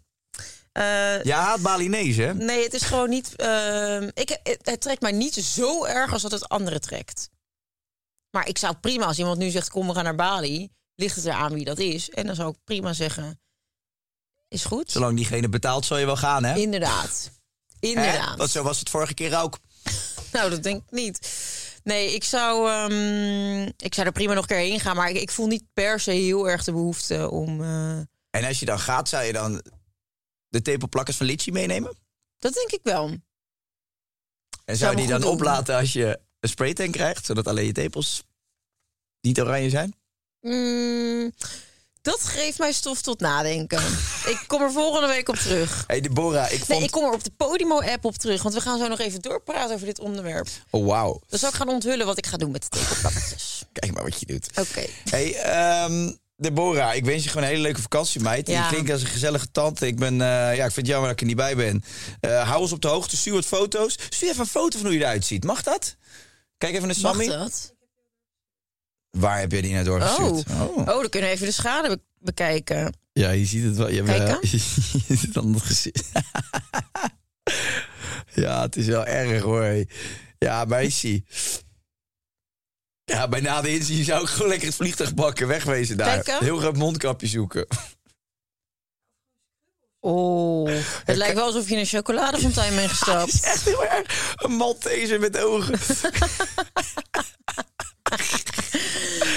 [SPEAKER 6] Eh,
[SPEAKER 5] Ja, haat Balinees, hè?
[SPEAKER 6] Nee, het is gewoon niet... ehm, ik, het, het trekt mij niet zo erg als dat het anderen trekt. Maar ik zou prima, als iemand nu zegt, kom we gaan naar Bali... ligt het eraan wie dat is. En dan zou ik prima zeggen, is goed.
[SPEAKER 5] Zolang diegene betaalt, zal je wel gaan, hè?
[SPEAKER 6] Inderdaad.
[SPEAKER 5] Hè?
[SPEAKER 6] Inderdaad.
[SPEAKER 5] Want zo was het vorige keer ook.
[SPEAKER 6] Nou, dat denk ik niet. Nee, ik zou, ehm, ik zou er prima nog een keer heen gaan. Maar ik, ik voel niet per se heel erg de behoefte om... eh,
[SPEAKER 5] En als je dan gaat, zou je dan de tepelplakkers van Litchi meenemen?
[SPEAKER 6] dat denk ik wel.
[SPEAKER 5] En
[SPEAKER 6] Zou
[SPEAKER 5] zou
[SPEAKER 6] me
[SPEAKER 5] die dan
[SPEAKER 6] goed doen.
[SPEAKER 5] oplaten als je een spraytank krijgt, zodat alleen je tepels niet oranje zijn?
[SPEAKER 6] Mm, dat geeft mij stof tot nadenken. ik kom er volgende week op terug.
[SPEAKER 5] Hé, hey Deborah, ik vond...
[SPEAKER 6] Nee, ik kom er op de Podimo-app op terug. Want we gaan zo nog even doorpraten over dit onderwerp.
[SPEAKER 5] Oh, wauw.
[SPEAKER 6] Dan zal ik gaan onthullen wat ik ga doen met de tekelplakjes.
[SPEAKER 5] Kijk maar wat je doet.
[SPEAKER 6] Oké.
[SPEAKER 5] Hey, ehm, Deborah, ik wens je gewoon een hele leuke vakantie, meid.
[SPEAKER 6] Ja.
[SPEAKER 5] Je klinkt als een gezellige tante. Ik, ben, eh, ja, ik vind het jammer dat ik er niet bij ben. Eh, hou ons op de hoogte, stuur wat foto's. Stuur even een foto van hoe je eruit ziet. Mag dat? Kijk even naar
[SPEAKER 6] Mag
[SPEAKER 5] Sammy.
[SPEAKER 6] dat?
[SPEAKER 5] Waar heb jij die naar
[SPEAKER 6] Oh.
[SPEAKER 5] doorgestuurd?
[SPEAKER 6] oh, dan kunnen we even de schade be- bekijken.
[SPEAKER 5] Ja, je ziet het wel. Je,
[SPEAKER 6] Kijk
[SPEAKER 5] hebt,
[SPEAKER 6] dan.
[SPEAKER 5] eh, je ziet het aan het gezicht. ja, het is wel erg hoor. hé. Ja, meisje. Ja, bij na de inzien zou ik gewoon lekker het vliegtuig bakken. Wegwezen daar.
[SPEAKER 6] Kijk dan.
[SPEAKER 5] Heel groot mondkapje zoeken.
[SPEAKER 6] Oh, het lijkt wel alsof je in een chocoladefontein bent gestapt.
[SPEAKER 5] Echt heel erg. Een Malteser met ogen.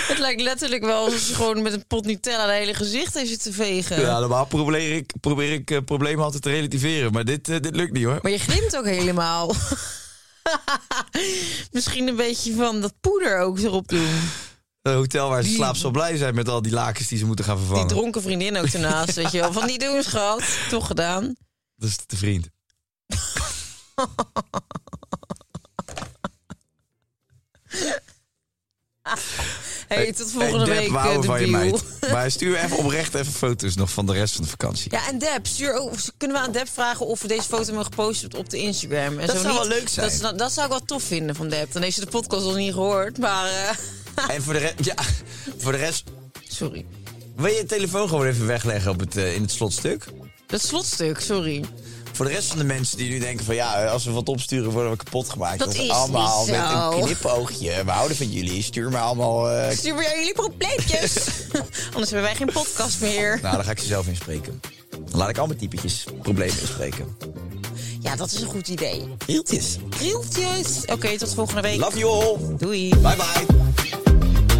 [SPEAKER 6] Het lijkt letterlijk wel alsof je gewoon met een pot Nutella het hele gezicht heeft zitten vegen.
[SPEAKER 5] Ja, normaal probeer ik, probeer ik eh, problemen altijd te relativeren. Maar dit, eh, dit lukt niet hoor.
[SPEAKER 6] Maar je glimt ook helemaal. Misschien een beetje van dat poeder ook erop doen.
[SPEAKER 5] Het hotel waar ze slaapt zal blij zijn met al die lakens die ze moeten gaan
[SPEAKER 6] Die
[SPEAKER 5] vervangen.
[SPEAKER 6] dronken vriendin ook ernaast, weet je wel. Van die doen, schat. Toch gedaan.
[SPEAKER 5] Dat is de vriend.
[SPEAKER 6] Hey, tot volgende
[SPEAKER 5] Hey, Deb,
[SPEAKER 6] week,
[SPEAKER 5] we
[SPEAKER 6] eh,
[SPEAKER 5] houden
[SPEAKER 6] de
[SPEAKER 5] van je
[SPEAKER 6] biel.
[SPEAKER 5] meid. Maar stuur even oprecht even foto's nog van de rest van de vakantie.
[SPEAKER 6] Ja, en Deb, stuur ook, kunnen we aan Deb vragen of we deze foto mogen posten op de Instagram? En
[SPEAKER 5] Dat
[SPEAKER 6] zo
[SPEAKER 5] zou
[SPEAKER 6] niet,
[SPEAKER 5] wel leuk zijn.
[SPEAKER 6] Dat, zou- dat zou ik wel tof vinden van Deb. Dan heeft ze de podcast nog niet gehoord, maar... eh,
[SPEAKER 5] En voor de, re- ja, voor de rest,
[SPEAKER 6] sorry.
[SPEAKER 5] wil je je telefoon gewoon even wegleggen op het, eh, in het slotstuk?
[SPEAKER 6] Dat slotstuk, sorry.
[SPEAKER 5] Voor de rest van de mensen die nu denken van ja, eh, als we wat opsturen worden we kapot gemaakt.
[SPEAKER 6] Dat is
[SPEAKER 5] allemaal
[SPEAKER 6] niet
[SPEAKER 5] met
[SPEAKER 6] zo.
[SPEAKER 5] een knipoogje. We houden van jullie, stuur me allemaal... eh,
[SPEAKER 6] Stuur maar jullie probleempjes. Anders hebben wij geen podcast meer.
[SPEAKER 5] nou, daar ga ik ze zelf inspreken. Dan laat ik al mijn typetjes problemen inspreken.
[SPEAKER 6] Ja, dat is een goed idee.
[SPEAKER 5] Hieltjes.
[SPEAKER 6] Krieltjes. Oké, tot volgende week.
[SPEAKER 5] Love you all.
[SPEAKER 6] Doei.
[SPEAKER 5] Bye bye.